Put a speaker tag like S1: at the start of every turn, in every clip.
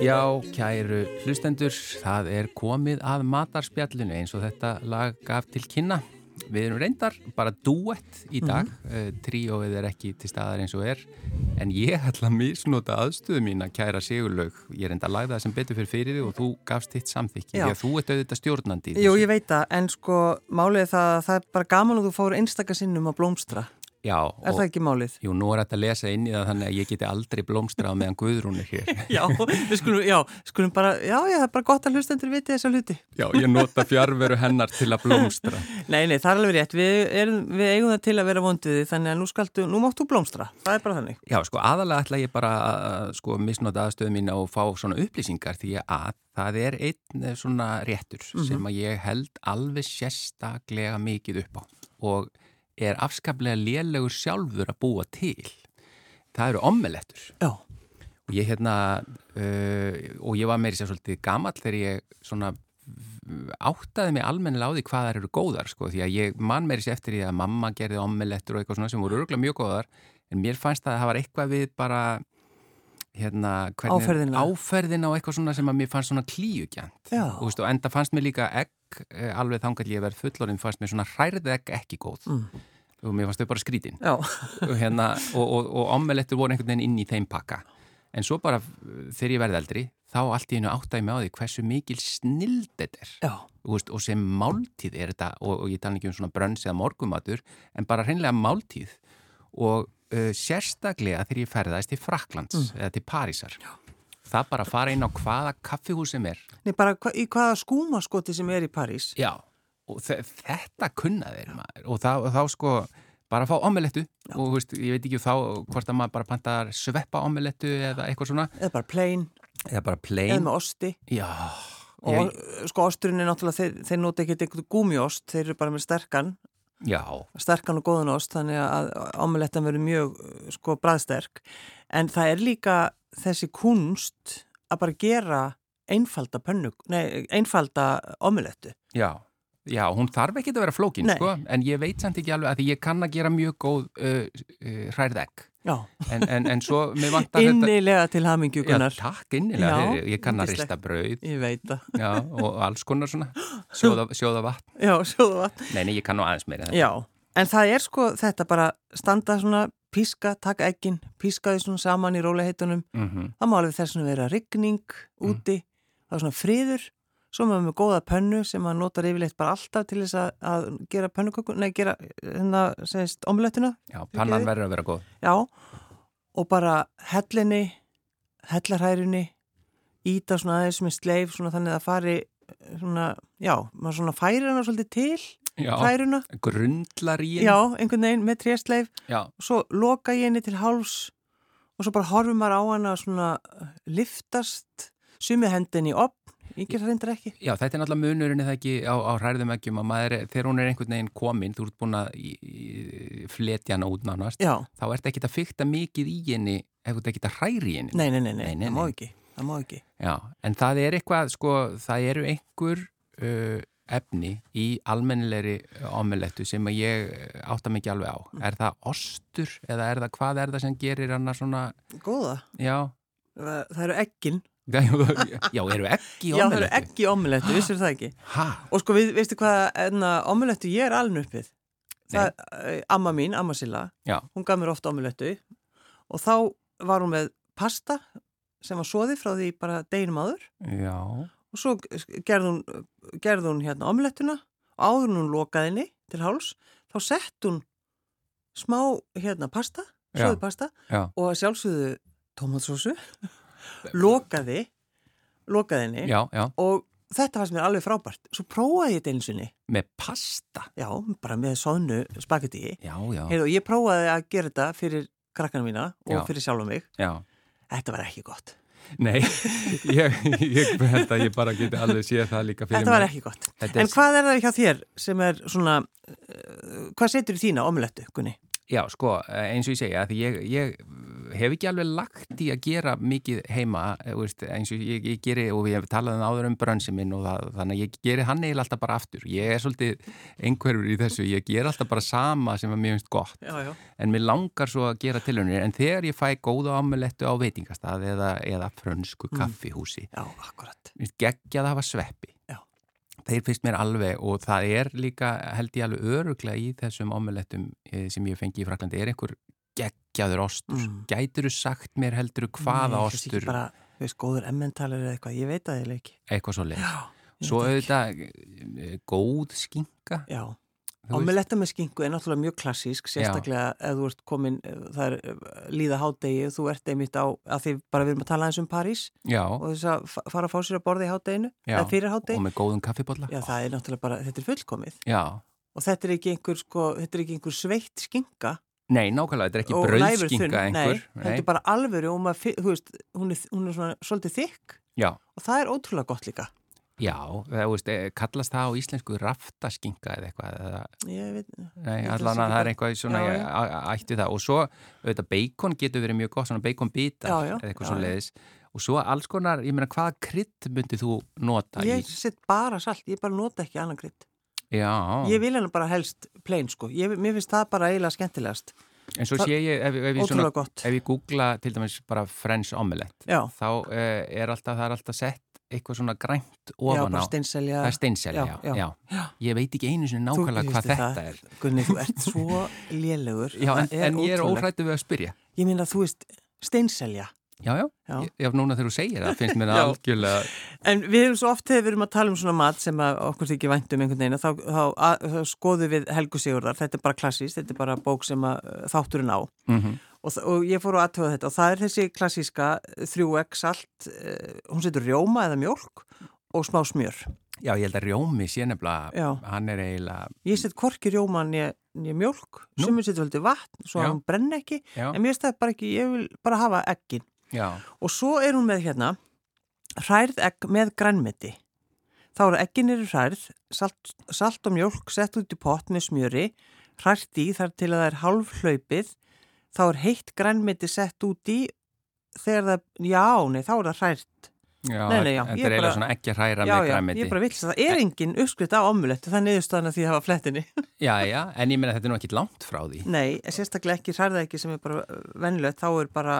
S1: Já, kæru hlustendur, það er komið að matarspjallinu eins og þetta lag gaf til kynna. Við erum reyndar bara duett í dag, mm tríóið er ekki til staðar eins og er, en ég ætla að misnota aðstöðu mín að kæra sigurlaug. Ég reyndar að lagða það sem betur fyrir fyrir þig og þú gafst þitt samþykki,
S2: Já.
S1: því að þú ert auðvitað stjórnandi. í
S2: Jú,
S1: þessu.
S2: ég veit það, en sko málið er það að það er bara gaman að þú fór einstakasinnum að blómstra.
S1: Já,
S2: Er það ekki málið?
S1: Jú, nú er þetta að lesa inn í það þannig að ég geti aldrei blómstrað meðan Guðrún er hér.
S2: Já, við skulum, já, skulum bara, já, já, það er bara gott að hlustendur viti þessa hluti.
S1: Já, ég nota fjárveru hennar til að blómstra.
S2: Nei, nei, það er alveg rétt, við, erum, við eigum það til að vera vondiði, þannig að nú skaltu, nú máttu blómstra, það er bara þannig.
S1: Já, sko, aðalega ætla ég bara að sko, misnota aðstöðu mín og fá svona upplýsingar því að það er einn eh, svona réttur sem að ég held alveg sérstaklega mikið upp á og er afskaplega lélegur sjálfur að búa til. Það eru ommelettur
S2: Já,
S1: og ég hérna, uh, og ég var meiri sér svolítið gamall þegar ég svona áttaði mig almennilega á því hvað þær eru góðar sko, því að ég man meiri sér eftir því að mamma gerði ommelettur og eitthvað svona sem voru örgulega mjög góðar en mér fannst að það var eitthvað við bara hérna, hvernig,
S2: Áferðina.
S1: áferðina og eitthvað svona sem að mér fannst svona klíugjant
S2: Já.
S1: og, veist, og enda fannst mér líka egg eh, alveg þangat ég verð fullorinn fannst mér svona hrærið egg ekki góð
S2: Mm.
S1: og mér fannst þau bara skrítin
S2: já,
S1: og, hérna, og, og, og ommelettur voru einhvern veginn inn í þeim pakka en svo bara uh, þegar ég verði eldri þá allt í einu áttaði mig á því hversu mikil snild þetta er
S2: já,
S1: Þú veist, og sem máltíð er þetta og, og ég tala ekki um svona brönns eða morgumatur en bara hreinlega máltíð og uh, sérstaklega þegar ég ferðaðist til Fraklands eða til Parísar Já. það bara að fara inn á hvaða kaffihús sem er
S2: nei, bara hva, í hvaða skúmaskoti sem er í París.
S1: Já, og þe- þetta kunna þeir maður og þá, og þá sko bara fá omelettu og þú veist, ég veit ekki þá hvort að maður bara pantar sveppa omelettu eða eitthvað svona
S2: Eða bara plain,
S1: eða bara
S2: eða
S1: plain
S2: með osti.
S1: Já,
S2: Og
S1: ég,
S2: sko osturinn er náttúrulega, þeir, þeir nota ekki eitthvað gúmiost, þeir eru bara með sterkan,
S1: já,
S2: sterkan og góðan ost, þannig að omelettan verður mjög uh, sko bræðsterk. En það er líka þessi kunst að bara gera einfalda pönnug, nei, einfalda omelettu.
S1: já Já, hún þarf ekki að vera flókin,
S2: Nei.
S1: sko, en ég veit samt ekki alveg að því ég kann að gera mjög góð uh, uh, hræðegg,
S2: Já,
S1: en, en, en svo mér vantar
S2: innilega
S1: þetta...
S2: til
S1: Já,
S2: hamingjugunar.
S1: takk innilega,
S2: Já,
S1: já, ég kann að
S2: yndislegt.
S1: rista brauð,
S2: Ég veit það.
S1: já, og alls konar svona, sjóða, sjóða vatn,
S2: Já, sjóðu vatn.
S1: nei, nei, ég kann nú aðeins meira en þetta.
S2: Já, en það er sko þetta bara standa svona, píska, taka ekkin, píska því svona saman í róliheitunum.
S1: Mhm.
S2: Það má alveg þess að vera rigning úti, það er svona friður, svo maður með góða pönnu sem maður notar yfirleitt bara alltaf til þess að, að gera pönnukökun, nei, gera hérna, segist, omlettuna,
S1: Já,
S2: Ekki?
S1: pannan verður að vera góð.
S2: já, og bara hellinni, hellarhærinni, íta svona aðeins með sleif, svona þannig að fari svona, já, maður svona færir hana svolítið til,
S1: Já.
S2: hæruna,
S1: Grundlar í henni.
S2: já, einhvern veginn með trésleif
S1: Já,
S2: og svo loka ég henni til háls og svo bara horfum maður á hana svona uh, liftast, sumi hendin í opn, ég ger það reyndar ekki.
S1: já, þetta er náttúrulega munurinn eða ekki á, á hræðum ekki um að maður, er- þegar hún er einhvern veginn komin, þú ert búin að í- í- fletja hana út nánast,
S2: Já,
S1: þá ert ekki að fykta mikið í henni, ekkert ekki að hræri í henni.
S2: nei, nei, nei, nei,
S1: Nei, nei,
S2: það má
S1: nei.
S2: ekki, það má ekki.
S1: Já, en það er eitthvað, sko, það eru einhver uh, efni í almennilegri omelettu sem að ég átta mikið alveg á.
S2: Mm.
S1: Er það ostur eða er það, hvað er það sem gerir hana svona,
S2: Góða,
S1: já,
S2: það það eru ekkin.
S1: já, eru ekki
S2: Já, það eru
S1: omelettu?
S2: ekki omulettu, vissur það ekki.
S1: Hæ?
S2: Og sko, við, veistu hvað omulettu ég er alveg uppið? Það, eh, amma mín, amma Silla,
S1: Já.
S2: hún gaf mér ofta omulettu og þá var hún með pasta sem var soðið frá því bara deginum áður
S1: Já.
S2: og svo gerði hún, gerði hún hérna omlettuna og áður en hún lokaði henni til háls, þá sett hún smá hérna pasta,
S1: Já.
S2: svoðu pasta
S1: Já.
S2: og að sjálfsögðu tomatsósu, lokaði, lokaði henni
S1: Já, já,
S2: og þetta fannst mér alveg frábært. Svo prófaði ég þetta eins og niður.
S1: með pasta
S2: Já, bara með soðnu spagetti.
S1: já, já,
S2: Heyrðu, og ég prófaði að gera þetta fyrir krakkana mína og
S1: Já.
S2: fyrir sjálf og mig.
S1: já.
S2: Þetta var ekki gott.
S1: Nei, ég, ég held að ég bara geti alveg séð það líka fyrir
S2: Þetta var
S1: mér.
S2: ekki gott.
S1: Þetta er-
S2: En hvað er það hjá þér sem er svona, uh, hvað setur í þína omlettu, Gunni?
S1: Já, sko, eins og ég segja, því ég, ég hef ekki alveg lagt í að gera mikið heima, eh, veist, eins og ég, ég geri, og ég hef talað um áður um bransi minn og það, þannig að ég geri hann eiginlega alltaf bara aftur. Ég er svolítið einhverfur í þessu, ég ger alltaf bara sama sem er mjög finnst gott,
S2: Já, já.
S1: en mér langar svo að gera tilhörnir, en þegar ég fæ góða ámulettu á veitingastað eða, eða
S2: Mm.
S1: frönsku kaffihúsi,
S2: Já, akkurat.
S1: mér finnst geggjað að hafa sveppi.
S2: Já.
S1: Þeir finnst mér alveg og það er líka held ég alveg öruglega í þessum omelettum eh, sem ég fengi í Fraklandi er einhver geggjaður ostur.
S2: Mm.
S1: Gætur þú sagt mér heldur þú hvaða
S2: Nei, kannski
S1: ostur,
S2: Ekki bara, þú veist, góður emmentalar eða eitthvað, ég veit að ég leiki.
S1: eitthvað svo leið.
S2: Já. ég
S1: Svo
S2: veit ekki.
S1: auðvitað eh, góð skinka.
S2: Já,
S1: þú veist.
S2: omeletta með skinku er náttúrulega mjög klassísk, sérstaklega ef þú ert komin, það er eh, líða hádegi, þú ert einmitt á, að því bara við erum að tala aðeins um París
S1: Já,
S2: og þess að fa- fara að fá sér að borða í hádeginu,
S1: já.
S2: eða fyrir
S1: Og
S2: hádegi,
S1: með góðum kaffibotla.
S2: já það er náttúrulega bara, þetta er fullkomið
S1: Já.
S2: og þetta er ekki einhver, sko, þetta er ekki einhver sveitt skinka
S1: Nei, nákvæmlega, þetta er ekki
S2: og næfur þunn,
S1: brauðskinka einhver.
S2: nei, þetta er bara alvöru og maður, fi- þú veist, hún er, hún er svona svolítið þykk
S1: Já,
S2: og það er ótrúlega gott líka,
S1: já, það þú veist, eh, kallast það á íslensku raftaskinka eða eitthvað, eða
S2: ég veit,
S1: Nei,
S2: Ég ætla að
S1: allan
S2: segja
S1: að það er
S2: bara-
S1: eitthvað svona
S2: Já,
S1: já,
S2: já.
S1: ætti það og svo auðvitað beikon getur verið mjög gott svona beikon bitar
S2: Já, já,
S1: eða eitthvað
S2: já,
S1: svona leiðis og svo alls konar, ég meina hvaða krydd myndið þú nota
S2: ég sett bara salt, ég bara nota ekki annan
S1: í?
S2: gritt
S1: Já,
S2: Ég vil hennar bara helst plain sko. Ég, mér finnst það bara eiginlega skemmtilegast.
S1: en svo
S2: það-
S1: sé ég ef, ef, ég svona,
S2: Ótrúlega gott.
S1: ef ég googla til dæmis bara French omelette
S2: Já,
S1: þá eh, er alltaf, það er alltaf sett eitthvað svona grænt
S2: já,
S1: ofan
S2: bara
S1: á
S2: steinselja.
S1: það er steinselja, já,
S2: Já,
S1: já,
S2: já. Já.
S1: ég veit ekki einu sinni nákvæmlega
S2: Þú-
S1: hvað
S2: veistu
S1: þetta
S2: það,
S1: er
S2: Gunni, þú ert svo lélegur.
S1: já, en,
S2: Það er
S1: en ég er
S2: ótrúlegt.
S1: óhrættu við að spyrja
S2: Ég meina, þú veist, steinselja.
S1: já, já,
S2: Já.
S1: já, já núna þegar þú segir það finnst mér það
S2: Já.
S1: algjörlega
S2: En við erum svo oft þegar við erum að tala um svona mat sem að okkur þykir vænt um einhvern veginn að þá, þá, að, þá skoðum við Helgu Sigurðar. Þetta er bara klassís, þetta er bara bók sem að, uh, þátturinn á.
S1: mm
S2: Og, þa- og ég fór að aðtöða þetta og það er þessi klassíska uh, 3x salt, uh, hún setur rjóma eða mjólk og smá smjör.
S1: Já, ég held að Rjómi sé nefnilega,
S2: Já.
S1: hann er eiginlega,
S2: Ég set hvorki rjóma né, né mjölk,
S1: Nú.
S2: sem er setjum heldur vatn, svo
S1: Já.
S2: að hún brenna ekki,
S1: já,
S2: en mér finnst það bara ekki, ég vil bara hafa eggin.
S1: já,
S2: Og svo er hún með hérna, hrærð egg með grænmeti. Þá eru eggin eru hrærð, salt, salt og mjölk sett út í pott með smjöri, hrært í þar til að það er hálf hlaupið, þá er heitt grænmeti sett út í, þegar það, já, nei, þá er það hrært.
S1: já,
S2: Nei, nei, já,
S1: þetta
S2: ég
S1: er eiginlega
S2: bara-
S1: svona ekki að hræra
S2: já,
S1: með
S2: já,
S1: græmiti.
S2: ég er bara vill það. Er engin uppskrift á omulettu, það er niðurstaðan að því að hafa flettinni.
S1: Já, já, en ég meina þetta er nú ekkit langt frá því.
S2: Nei, sérstaklega ekki særða ekki sem er bara vennilegt, þá er bara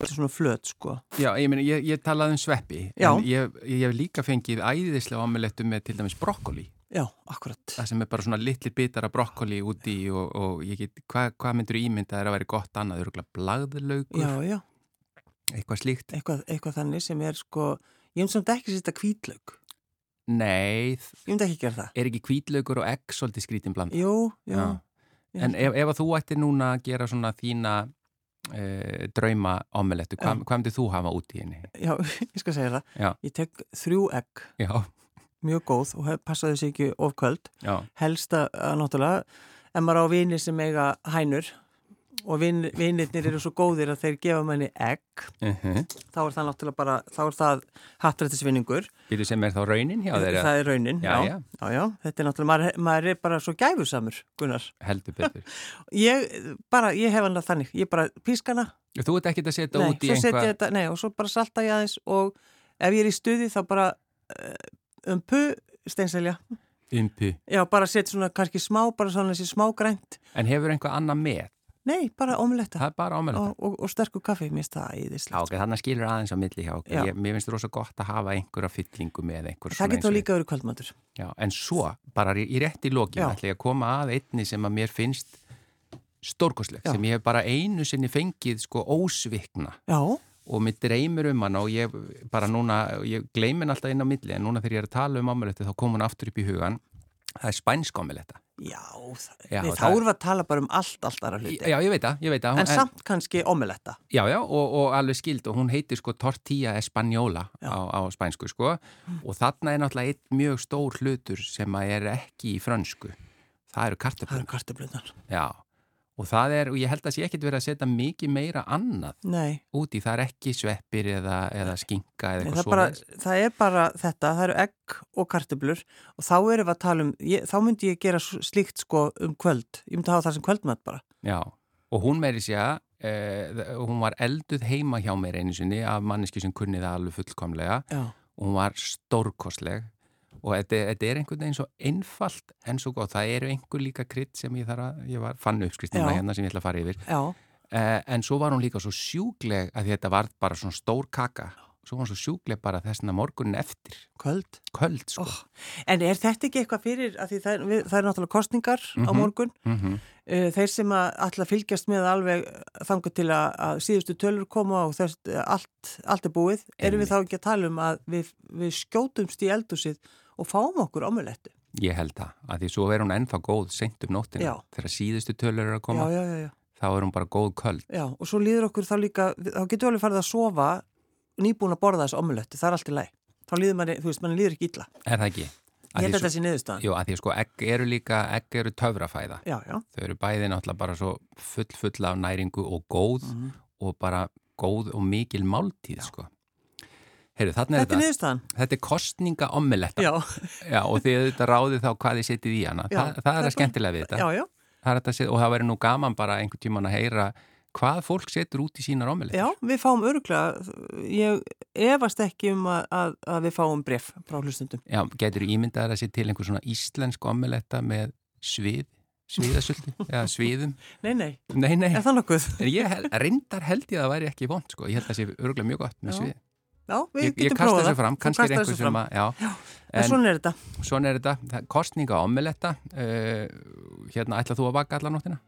S2: þetta er svona flöt sko.
S1: Já, ég meina, ég, ég talaði um sveppi,
S2: Já.
S1: en ég, ég hef líka fengið æðislega omelettu með til dæmis brokkoli,
S2: Já, akkurat.
S1: það sem er bara svona litli bitar af brokkoli úti og, og ég get, hvað hva myndur ímynda er að vera gott annað, örgulega blagðlaugur,
S2: Já, já,
S1: eitthvað slíkt.
S2: eitthvað, eitthvað þannig sem er sko, ég myndi samt ekki sérsta kvítlaug.
S1: Nei, þ-
S2: Ég myndi ekki gera það.
S1: er ekki kvítlaugur og egg svolítið skrítin bland?
S2: Jú, jú.
S1: Já.
S2: ég
S1: En ef,
S2: held
S1: ef að þú ætti núna að gera svona þína uh, drauma omelettu, hvað, hvað myndir þú hafa út í henni?
S2: Já, ég skal segja það.
S1: Já.
S2: Ég tek þrjú egg,
S1: Já,
S2: mjög góð og hef- passa þessi ekki ofkvöld.
S1: já,
S2: Helst að, að eh, náttúrulega, en maður á vini sem eiga hænur og vin, vinirnir eru svo góðir að þeir gefa manni egg,
S1: uh -huh.
S2: þá er það náttúrulega bara, þá er það hattrættisvinningur.
S1: býtu sem er þá raunin hjá þeirra,
S2: Það er raunin,
S1: Já,
S2: já.
S1: já.
S2: Já. já, Þetta er náttúrulega, maður, maður er bara svo gæfusamur, Gunnar.
S1: heldur betur.
S2: Ég, bara, ég hef hann að þannig, ég bara píska hana,
S1: Þú ert ekkert að setja
S2: nei,
S1: út í
S2: svo setja
S1: einhvað,
S2: þetta, nei, og svo bara salta ég aðeins og ef ég er í stuði þá bara eh, um pu steinselja.
S1: impi.
S2: Já, bara setja svona kannski smá, bara svona þessi smá grænt.
S1: En hefur einhvað annað með?
S2: Nei, bara
S1: Það
S2: omletta
S1: er bara omeletta.
S2: og, og, og sterkur kaffi, mér finnst það
S1: Já,
S2: æðislega.
S1: ok, þannig að skilur aðeins á milli hjá okkur.
S2: Já.
S1: Ég, mér finnst rosa gott að hafa einhverja fyllingu með einhver eins
S2: Það
S1: og-
S2: getur líka verið kvöldmatur.
S1: Já, en svo, bara í í rétt í lokin,
S2: Já.
S1: ætla ég að koma að einni sem að mér finnst stórkosleg,
S2: Já.
S1: sem ég hef bara einu sinni fengið sko ósvikna
S2: Já,
S1: og mér dreymir um hann og ég bara núna, ég gleymi hann alltaf inn á milli en núna þegar ég er að tala um omeletta þá kom hann aftur upp í hugan það er spænsk omeletta
S2: Já, það,
S1: Já,
S2: nei,
S1: það
S2: þá
S1: er-
S2: erum við að tala bara um allt, allt aðra hluti.
S1: Já, ég veit það, ég veit það.
S2: en, samt kannski omeletta.
S1: Já, já, og, og alveg skild og hún heitir sko Tortilla Española á, á spænsku sko og þarna er náttúrulega eitt mjög stór hlutur sem að er ekki í frönsku. Það eru
S2: Það
S1: kartöflun.
S2: eru kartablunar.
S1: Já, og það er, og ég held að sé ekkit verið að setja mikið meira annað
S2: Nei,
S1: út í, það er ekki sveppir eða, eða skinka eða
S2: nei
S1: eitthvað
S2: það,
S1: svo.
S2: bara, það er bara þetta, það eru egg og kartablur og þá erum við að tala um, ég, þá myndi ég gera s- slíkt sko um kvöld. Ég myndi hafa það sem kvöldmætt bara.
S1: Já, og hún meiri sé að eh, hún var elduð heima hjá mér einu sinni af manneski sem kunni það alveg fullkomlega
S2: Já,
S1: og hún var stórkostleg og þetta, þetta er einhvern veginn svo einfalt en svo góð, það eru einhver líka krydd sem ég þarf að, ég var, fann uppskristina
S2: Já.
S1: hérna sem ég ætla að fara yfir,
S2: já,
S1: eh, en svo var hún líka svo sjúgleg að þetta var bara svona stór kaka, svo var hún svo sjúgleg bara þessna morgunin eftir,
S2: kvöld.
S1: köld sko.
S2: Oh. En er þetta ekki eitthvað fyrir, að því það, er- við, það er náttúrulega kostningar á
S1: Mhm.
S2: morgun,
S1: Mhm.
S2: uh, þeir sem að alltaf fylgjast með alveg þangu til að, að síðustu tölur koma og þess, eh, allt, allt er búið, erum við þá ekki að tala um að við, við skjótumst í eldúsið og fáum okkur omulettu?
S1: Ég held það, að því svo er hún ennþá góð seint um nóttina,
S2: Já.
S1: þegar síðustu tölur eru að
S2: Já,
S1: koma,
S2: já, já, já,
S1: þá er hún bara góð köld
S2: já, og svo líður okkur þá líka, þá getur við alveg farið að sofa nýbúin að borða þessu omulettu, það er allt í læg. Þá líður manni, þú veist, manni líður ekki illa.
S1: Er það ekki?
S2: Ég
S1: Að
S2: held
S1: því
S2: að þetta sé niðurstaðan.
S1: Jú, að því sko egg eru líka, egg eru töfrafæða.
S2: Já, já,
S1: Þau eru bæði náttúrulega bara svo full, full af næringu og góð
S2: Mhm.
S1: og bara góð og mikil máltíð, sko. Heyrðu, þarna er
S2: þetta er
S1: þetta,
S2: niðurstaðan.
S1: þetta er kostninga omeletta.
S2: Já,
S1: Já, og þið þetta ráðið þá hvað þið setið í hana.
S2: Já,
S1: það, það er
S2: það er
S1: að skemmtilega við þetta.
S2: já, já,
S1: Það er þetta set, og það verður nú gaman bara einhvern tíman að heyra hvað fólk setur út í sínar omeletta.
S2: já, við fáum öruglega, ég efast ekki um að, að, að við fáum bref frá hlustundum.
S1: Já, getur ímyndaður að sé til einhver svona íslensk omeletta með svið, sviðasöldu, eða sviðum.
S2: Nei, nei,
S1: Nei, nei.
S2: er það nokkuð?
S1: En ég hel, reyndar held ég að það væri ekki vond sko, ég held að það sé örgulega mjög gott með
S2: Já,
S1: svið.
S2: Já, við
S1: Ég, ég
S2: getum
S1: kasta
S2: prófað
S1: þessu fram,
S2: Þú
S1: kannski er
S2: kastar
S1: einhver
S2: þessu
S1: sem
S2: fram.
S1: að, já,
S2: En
S1: en
S2: svona er þetta.
S1: svona er þetta, það, kostninga omeletta, uh, hérna, ætla þú að baka alla nóttina?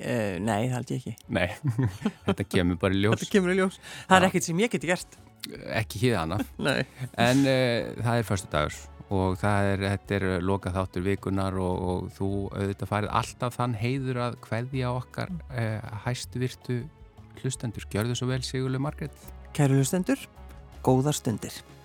S2: Uh, nei, það held ég ekki.
S1: Nei, þetta kemur bara í
S2: Þetta
S1: ljós,
S2: kemur í ljós. Það er
S1: Já.
S2: ekkert sem ég geti gert.
S1: ekki hýða hana,
S2: Nei.
S1: en uh, það er förstu dagur og það er, þetta er lokað þáttur vikunar og, og þú auðvitað farið alltaf þann heiður að hverðja okkar uh, hæstvirtu hlustendur, gjörðu svo vel Sigurlu Margrét.
S2: Kæru hlustendur, góðar stundir.